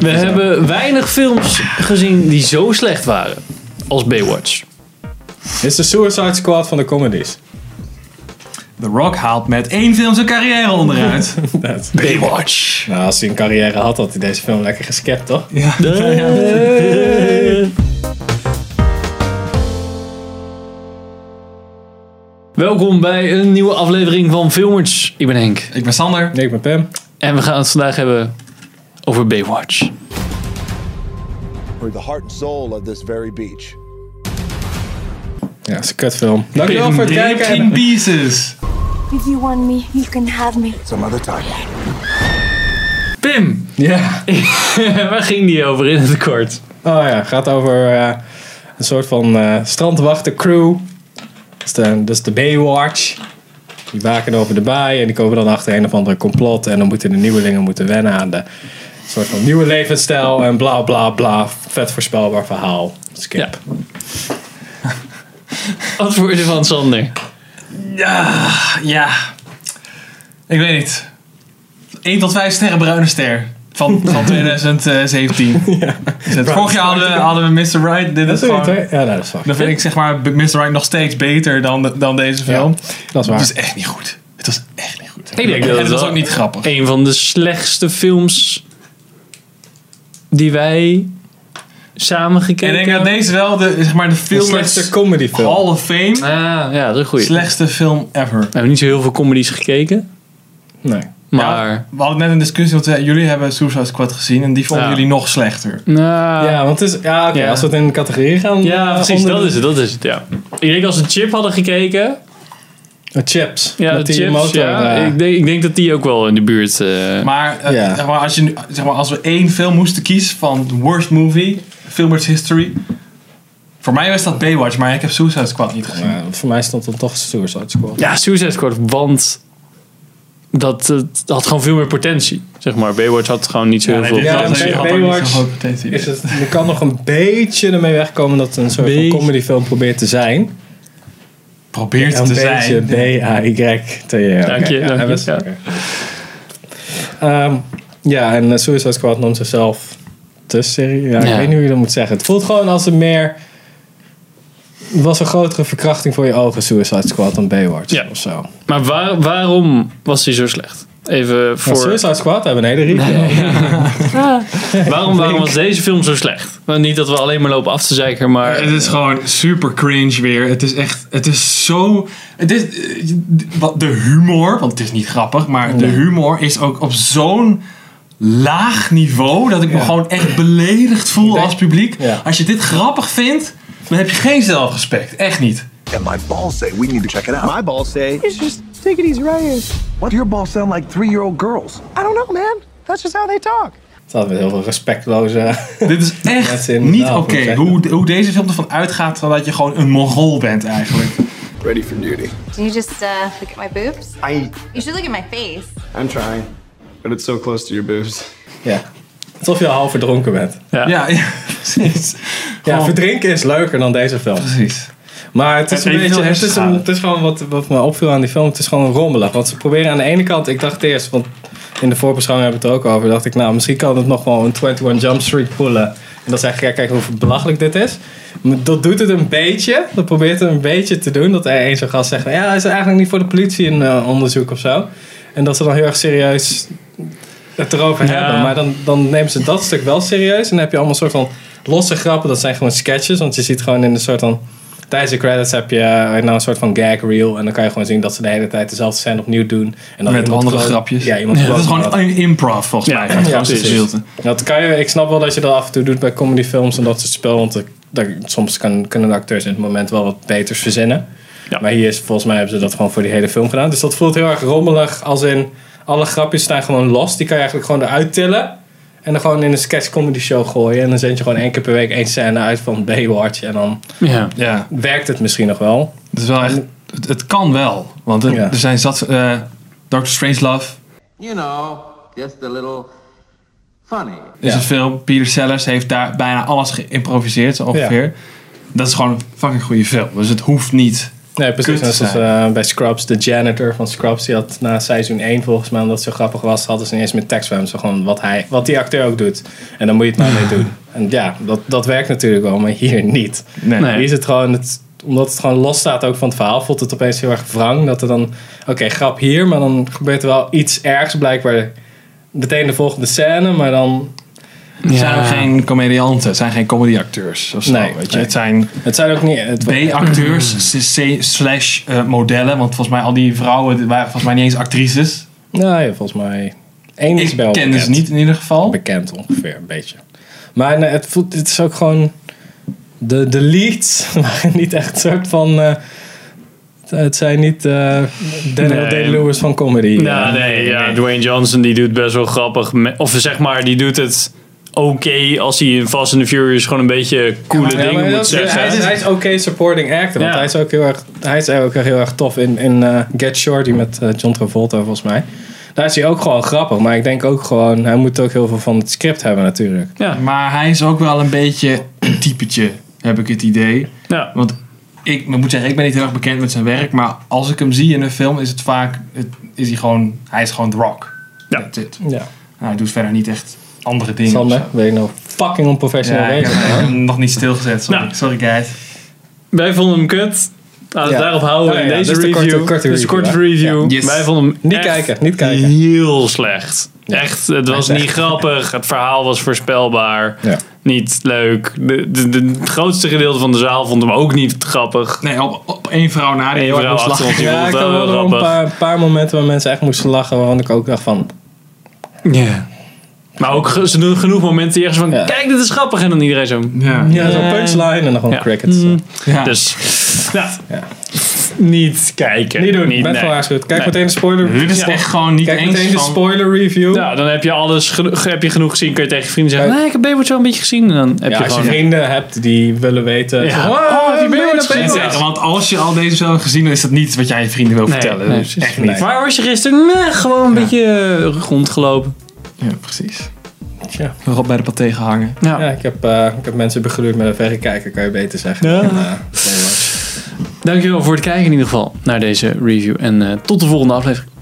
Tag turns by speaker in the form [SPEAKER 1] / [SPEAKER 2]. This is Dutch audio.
[SPEAKER 1] We hebben weinig films gezien die zo slecht waren als Baywatch.
[SPEAKER 2] Dit is de Suicide Squad van de comedies.
[SPEAKER 3] The Rock haalt met één film zijn carrière onderuit.
[SPEAKER 2] Dat.
[SPEAKER 1] Baywatch.
[SPEAKER 2] Nou, als hij een carrière had, had hij deze film lekker geskept, toch?
[SPEAKER 3] ja.
[SPEAKER 1] Welkom bij een nieuwe aflevering van Filmers. Ik ben Henk
[SPEAKER 3] Ik ben Sander.
[SPEAKER 2] Nee, ik ben Pam.
[SPEAKER 1] en we gaan het vandaag hebben over Baywatch.
[SPEAKER 4] We're the heart and soul of this very beach.
[SPEAKER 2] Ja, dat is een kutfilm. Dankjewel voor het kijken.
[SPEAKER 3] In pieces.
[SPEAKER 5] If you want me, you can have me.
[SPEAKER 4] Some other time.
[SPEAKER 1] Pim,
[SPEAKER 2] Ja.
[SPEAKER 1] waar ging die over in het kort?
[SPEAKER 2] Oh ja, gaat over eh, een soort van eh strandwachtencrew. Dat is, de, dat is de Baywatch. Die waken over de baai en die komen dan achter een of andere complot. En dan moeten de nieuwelingen moeten wennen aan de soort van nieuwe levensstijl. En bla bla bla. Vet voorspelbaar verhaal. Skip.
[SPEAKER 1] Ja. Antwoorden van Sander.
[SPEAKER 3] Ja, ja. Ik weet niet. 1 tot 5 sterren bruine ster. Van, van 2017. Dus het vorig jaar hadden we, hadden we Mr. Right. Dit
[SPEAKER 2] Dat
[SPEAKER 3] is
[SPEAKER 2] is goed,
[SPEAKER 3] gewoon...
[SPEAKER 2] hè? Ja, nee, dat is waar.
[SPEAKER 3] Dan vind ik zeg maar Mr. Right nog steeds beter dan, de- dan deze film.
[SPEAKER 2] Dat is
[SPEAKER 3] Het
[SPEAKER 2] waar.
[SPEAKER 3] is echt niet goed. Het was echt niet goed.
[SPEAKER 1] Ik denk dat
[SPEAKER 3] en
[SPEAKER 1] het
[SPEAKER 3] het was
[SPEAKER 1] wel-
[SPEAKER 3] ook niet grappig.
[SPEAKER 1] Een van de slechtste films die wij samen
[SPEAKER 3] Ik
[SPEAKER 1] gekeken
[SPEAKER 3] denk dat
[SPEAKER 1] hebben.
[SPEAKER 3] deze wel de, zeg maar, de
[SPEAKER 2] De
[SPEAKER 3] filmers
[SPEAKER 2] slechtste comedyfilm.
[SPEAKER 3] Hall of Fame.
[SPEAKER 1] Ah, ja, dat is een goeie.
[SPEAKER 3] Slechtste film ever.
[SPEAKER 1] We hebben niet zo heel veel comedies gekeken,
[SPEAKER 2] Nee.
[SPEAKER 1] maar...
[SPEAKER 3] We hadden net een discussie, want eh, jullie hebben Suicide Squad gezien en die vonden
[SPEAKER 1] Ja.
[SPEAKER 3] jullie nog slechter.
[SPEAKER 1] Nou, ja,
[SPEAKER 2] Ja, want het is, ja, oké,
[SPEAKER 1] Ja.
[SPEAKER 2] als we het in de categorie gaan. eh,
[SPEAKER 1] precies,
[SPEAKER 2] onder-
[SPEAKER 1] dat is het, dat is het, ja. Ik denk als we Chip hadden gekeken,
[SPEAKER 2] Eh, Chips.
[SPEAKER 1] ja,
[SPEAKER 2] Met die
[SPEAKER 1] Chips,
[SPEAKER 2] motor,
[SPEAKER 1] ja,
[SPEAKER 2] eh,
[SPEAKER 1] ik, denk, ik denk dat die ook wel in de buurt... eh,
[SPEAKER 3] Maar, eh,
[SPEAKER 2] Ja.
[SPEAKER 3] zeg maar, als je, nu- zeg maar als we één film moesten kiezen van de worst movie, Filmers History. Voor mij was dat Baywatch, maar ik heb Suicide Squad niet gezien.
[SPEAKER 2] eh, voor mij stond dan toch Suicide Squad.
[SPEAKER 1] ja, Suicide Squad, want dat, dat had gewoon veel meer potentie, zeg maar. Baywatch had gewoon niet zo heel
[SPEAKER 3] nee,
[SPEAKER 1] veel...
[SPEAKER 3] dit
[SPEAKER 2] Ja,
[SPEAKER 3] had-
[SPEAKER 2] maar
[SPEAKER 3] dit had ook niet
[SPEAKER 2] Baywatch
[SPEAKER 3] zo'n grote potentie.
[SPEAKER 2] Is het, je kan nog een beetje ermee wegkomen dat het een soort van
[SPEAKER 1] Beetje.
[SPEAKER 2] comedyfilm probeert te zijn.
[SPEAKER 3] Probeert
[SPEAKER 2] Een
[SPEAKER 3] te
[SPEAKER 2] beetje
[SPEAKER 3] zijn.
[SPEAKER 2] B-A-Y-T-E.
[SPEAKER 1] Dank je, dank je,
[SPEAKER 2] E Ja,
[SPEAKER 1] ja.
[SPEAKER 2] Ehm, ja, en eh, Suicide Squad noemt zichzelf te serieus. Ja, Ik
[SPEAKER 1] Ja.
[SPEAKER 2] weet niet hoe je dat moet zeggen. Het voelt gewoon als een meer... Het was een grotere verkrachting voor je ogen, Suicide Squad, dan Baywatch
[SPEAKER 1] Ja.
[SPEAKER 2] of zo.
[SPEAKER 1] Maar waar, waarom was hij zo slecht? Even voor...
[SPEAKER 2] Voor... Suicide Squad hebben een hele review.
[SPEAKER 1] Waarom, waarom was deze film zo slecht? Nou, niet dat we alleen maar lopen af te zeiken, maar...
[SPEAKER 3] Het is gewoon super cringe weer. Het is echt, het is zo. Het is, eh, wat- de humor, want het is niet grappig, maar de humor is ook op zo'n laag niveau dat ik me gewoon echt beledigd voel als publiek.
[SPEAKER 2] Ja.
[SPEAKER 3] Als je dit grappig vindt, dan heb je geen zelfrespect. Echt niet.
[SPEAKER 4] And my balls say we need to check it out. My balls say,
[SPEAKER 6] It's just take it easy right here.
[SPEAKER 4] what do your balls sound like three-year-old girls?
[SPEAKER 6] I don't know, man. That's just how they talk.
[SPEAKER 2] Dat had met heel veel respectloze.
[SPEAKER 3] Dit is echt
[SPEAKER 2] Mensen in de
[SPEAKER 3] niet oké.
[SPEAKER 2] zaal, moet ik zeggen.
[SPEAKER 3] Hoe, hoe deze film ervan uitgaat dat je gewoon een mongool bent eigenlijk.
[SPEAKER 7] Ready for duty.
[SPEAKER 8] Can you just uh, look at my boobs?
[SPEAKER 7] I.
[SPEAKER 8] You should look at my face.
[SPEAKER 7] I'm trying, but it's so close to your boobs.
[SPEAKER 2] ja. Alsof je al half verdronken bent.
[SPEAKER 3] Ja, ja precies.
[SPEAKER 2] Ja,
[SPEAKER 3] Gewoon-
[SPEAKER 2] verdrinken is leuker dan deze film.
[SPEAKER 3] precies.
[SPEAKER 2] Maar het is
[SPEAKER 3] Het
[SPEAKER 2] een
[SPEAKER 3] heeft
[SPEAKER 2] beetje.
[SPEAKER 3] veel
[SPEAKER 2] Het is, een,
[SPEAKER 3] hersenschade.
[SPEAKER 2] het is gewoon wat, wat me opviel aan die film. Het is gewoon rommelig. Want ze proberen aan de ene kant. Ik dacht eerst, want in de voorbeschouwing hebben we het er ook over. Dacht ik, nou, misschien kan het nog wel een 21 Jump Street pullen. En dan zeg ik, ja, kijk hoe belachelijk dit is. Maar dat doet het een beetje. Dat probeert het een beetje te doen. Dat er eens zo'n gast zegt, ja, hij is eigenlijk niet voor de politie een eh, onderzoek of zo. En dat ze dan heel erg serieus het erover
[SPEAKER 1] Ja.
[SPEAKER 2] hebben. Maar dan, dan nemen ze dat stuk wel serieus. En dan heb je allemaal soort van losse grappen. Dat zijn gewoon sketches. Want je ziet gewoon in een soort van... Tijdens de credits heb je eh, nou een soort van gag reel. En dan kan je gewoon zien dat ze de hele tijd dezelfde scène opnieuw doen. En dan
[SPEAKER 3] Met
[SPEAKER 2] iemand
[SPEAKER 3] andere
[SPEAKER 2] gewoon-
[SPEAKER 3] grapjes.
[SPEAKER 2] Ja, iemand
[SPEAKER 3] Dat
[SPEAKER 2] gewoon-
[SPEAKER 3] is gewoon een improv volgens
[SPEAKER 1] Ja,
[SPEAKER 3] mij. Dat is
[SPEAKER 2] ja,
[SPEAKER 3] gewoon
[SPEAKER 2] precies.
[SPEAKER 3] gedeelte.
[SPEAKER 2] Dat kan je, ik snap wel dat je dat af en toe doet bij comedyfilms en dat soort spel. Want er- daar- soms kan, kunnen de acteurs in het moment wel wat beters verzinnen.
[SPEAKER 1] Ja.
[SPEAKER 2] Maar hier is, volgens mij hebben ze dat gewoon voor die hele film gedaan. Dus dat voelt heel erg rommelig. Als in, alle grapjes staan gewoon los. Die kan je eigenlijk gewoon eruit tillen. En dan gewoon in een sketch comedy show gooien. En dan zend je gewoon één keer per week één scène uit van Baywatch. En dan
[SPEAKER 1] ja.
[SPEAKER 3] Ja,
[SPEAKER 2] werkt het misschien nog wel.
[SPEAKER 3] het is wel echt. Het, het kan wel. Want er,
[SPEAKER 2] Ja.
[SPEAKER 3] er zijn zat. eh Doctor Strangelove
[SPEAKER 9] You know, just a little funny.
[SPEAKER 3] is
[SPEAKER 2] Ja.
[SPEAKER 3] een film. Peter Sellers heeft daar bijna alles geïmproviseerd, zo ongeveer. Dat is gewoon een fucking goede film. Dus het hoeft niet
[SPEAKER 2] Nee, precies.
[SPEAKER 3] kut
[SPEAKER 2] Net zoals
[SPEAKER 3] zijn.
[SPEAKER 2] eh, bij Scrubs, de janitor van Scrubs, die had na seizoen 1 volgens mij, omdat het zo grappig was, hadden ze ineens met tekst van hem. Zo gewoon wat, hij, wat die acteur ook doet. En dan moet je het maar mee doen. En ja, dat, dat werkt natuurlijk wel, maar hier niet.
[SPEAKER 3] Nee.
[SPEAKER 2] Hier is het gewoon, het, omdat het gewoon los staat ook van het verhaal, voelt het opeens heel erg wrang. Dat er dan, oké, grap hier, maar dan gebeurt er wel iets ergs blijkbaar meteen de volgende scène, maar dan...
[SPEAKER 3] Het zijn ook geen comedianten, het zijn geen comedyacteurs. of zo,
[SPEAKER 2] Nee,
[SPEAKER 3] weet je.
[SPEAKER 2] nee.
[SPEAKER 3] Het zijn
[SPEAKER 2] Het zijn ook niet... Het,
[SPEAKER 3] B-acteurs s- s- slash eh, modellen. Want volgens mij al die vrouwen die waren volgens mij niet eens actrices.
[SPEAKER 2] nou ja, volgens mij... één is
[SPEAKER 3] Ik
[SPEAKER 2] wel
[SPEAKER 3] kende ze
[SPEAKER 2] bekend.
[SPEAKER 3] niet in ieder geval.
[SPEAKER 2] bekend ongeveer, een beetje. Maar nee, het, voelt, het is ook gewoon... De, de leads waren niet echt een soort van... eh, het zijn niet eh Daniel
[SPEAKER 1] Nee.
[SPEAKER 2] Day-Lewis van comedy.
[SPEAKER 1] Ja,
[SPEAKER 2] eh.
[SPEAKER 1] nee, ja, Dwayne Johnson die doet best wel grappig. me- Of zeg maar, die doet het oké als hij in Fast and the Furious gewoon een beetje coole
[SPEAKER 2] Ja, maar
[SPEAKER 1] dingen
[SPEAKER 2] dat-
[SPEAKER 1] moet zeggen.
[SPEAKER 2] Hij is, hij is oké supporting actor. Want
[SPEAKER 1] Ja.
[SPEAKER 2] hij is ook heel erg, hij is ook heel erg tof in, in eh, Get Shorty met eh, John Travolta volgens mij. Daar is hij ook gewoon grappig. Maar ik denk ook gewoon, hij moet ook heel veel van het script hebben natuurlijk.
[SPEAKER 3] Maar hij is ook wel een beetje een typetje, heb ik het idee.
[SPEAKER 1] Ja.
[SPEAKER 3] Want ik, ik moet zeggen, ik ben niet heel erg bekend met zijn werk. Maar als ik hem zie in een film, is het vaak. Het, is hij, gewoon, hij is gewoon The Rock.
[SPEAKER 1] Ja.
[SPEAKER 3] That's it.
[SPEAKER 2] Ja.
[SPEAKER 3] Nou, hij doet verder niet echt andere dingen. of
[SPEAKER 2] Sander,
[SPEAKER 3] zo.
[SPEAKER 2] ben je nou fucking onprofessioneel
[SPEAKER 3] Ja, ik heb
[SPEAKER 2] bezig?
[SPEAKER 3] ik heb hem nog niet stilgezet. Sorry,
[SPEAKER 1] Nou.
[SPEAKER 3] sorry guys.
[SPEAKER 1] Wij vonden hem kut. Laten we
[SPEAKER 2] Ja.
[SPEAKER 1] daarop houden
[SPEAKER 2] Oh ja,
[SPEAKER 1] in
[SPEAKER 2] ja,
[SPEAKER 1] deze
[SPEAKER 2] dit is de
[SPEAKER 1] review.
[SPEAKER 2] korte- korte
[SPEAKER 1] Dit is de
[SPEAKER 2] review,
[SPEAKER 1] korte
[SPEAKER 2] hè?
[SPEAKER 1] review.
[SPEAKER 3] Ja. Yes.
[SPEAKER 1] Wij vonden hem
[SPEAKER 2] Niet
[SPEAKER 1] echt
[SPEAKER 2] kijken, niet kijken.
[SPEAKER 1] heel slecht. Echt, het was
[SPEAKER 2] is echt-
[SPEAKER 1] niet grappig. Het verhaal was voorspelbaar.
[SPEAKER 2] Ja.
[SPEAKER 1] Niet leuk. De, de, de- het grootste gedeelte van de zaal vond hem ook niet grappig.
[SPEAKER 3] Nee, op, op één vrouw na die
[SPEAKER 1] Eén
[SPEAKER 3] heel erg
[SPEAKER 1] vrouw
[SPEAKER 3] moest
[SPEAKER 1] achter
[SPEAKER 3] lachen.
[SPEAKER 1] ons.
[SPEAKER 2] Ja,
[SPEAKER 1] vond
[SPEAKER 2] ik
[SPEAKER 1] het
[SPEAKER 2] had
[SPEAKER 1] wel
[SPEAKER 2] wel nog een
[SPEAKER 1] grappig.
[SPEAKER 2] paar, paar momenten waar mensen echt moesten lachen, waarvan ik ook dacht van...
[SPEAKER 1] Maar ook ge- ze doen genoeg momenten die ergens van...
[SPEAKER 2] Ja.
[SPEAKER 1] Kijk, dit is grappig. En dan iedereen zo...
[SPEAKER 3] Ja.
[SPEAKER 2] Ja, zo'n punchline en dan gewoon
[SPEAKER 1] Ja.
[SPEAKER 2] crickets.
[SPEAKER 3] Ja.
[SPEAKER 1] Dus ja. niet kijken.
[SPEAKER 2] Niet doen,
[SPEAKER 1] Niet,
[SPEAKER 2] ik ben
[SPEAKER 1] nee.
[SPEAKER 2] gewaarschuwd. Kijk
[SPEAKER 1] Nee.
[SPEAKER 2] meteen de spoiler
[SPEAKER 3] Dit is
[SPEAKER 1] Ja.
[SPEAKER 3] echt gewoon niet
[SPEAKER 2] Kijk
[SPEAKER 3] eens
[SPEAKER 2] meteen de
[SPEAKER 3] van...
[SPEAKER 2] spoiler review.
[SPEAKER 1] Ja, Nou, dan heb je alles geno- heb je genoeg gezien. Kun je tegen je vrienden zeggen...
[SPEAKER 2] Kijk.
[SPEAKER 1] Nee, ik heb Baywatch wel een beetje gezien. En dan heb je
[SPEAKER 2] Ja, als je
[SPEAKER 1] gewoon...
[SPEAKER 2] vrienden hebt die willen weten...
[SPEAKER 1] Ja.
[SPEAKER 2] van,
[SPEAKER 1] Oh, heb je
[SPEAKER 2] ben je
[SPEAKER 1] Baywatch
[SPEAKER 2] naar
[SPEAKER 1] gezien?
[SPEAKER 2] Baywatch?
[SPEAKER 3] zeggen, want als je al deze film hebt gezien, dan is dat niet wat jij je vrienden wil vertellen.
[SPEAKER 1] nee,
[SPEAKER 3] Dus
[SPEAKER 1] precies.
[SPEAKER 3] echt niet.
[SPEAKER 2] Nee.
[SPEAKER 1] Waar was je gisteren? Nee, gewoon een beetje eh, rondgelopen.
[SPEAKER 3] Ja, precies.
[SPEAKER 2] Tja.
[SPEAKER 3] Rob bij de paté gehangen.
[SPEAKER 1] Ja.
[SPEAKER 2] Ja, ik heb, eh, ik heb mensen begeleurd met een verrekijker, kan je beter zeggen.
[SPEAKER 1] Ja.
[SPEAKER 2] En, eh, Baywatch.
[SPEAKER 1] Dankjewel voor het kijken in ieder geval naar deze review. En eh, tot de volgende aflevering.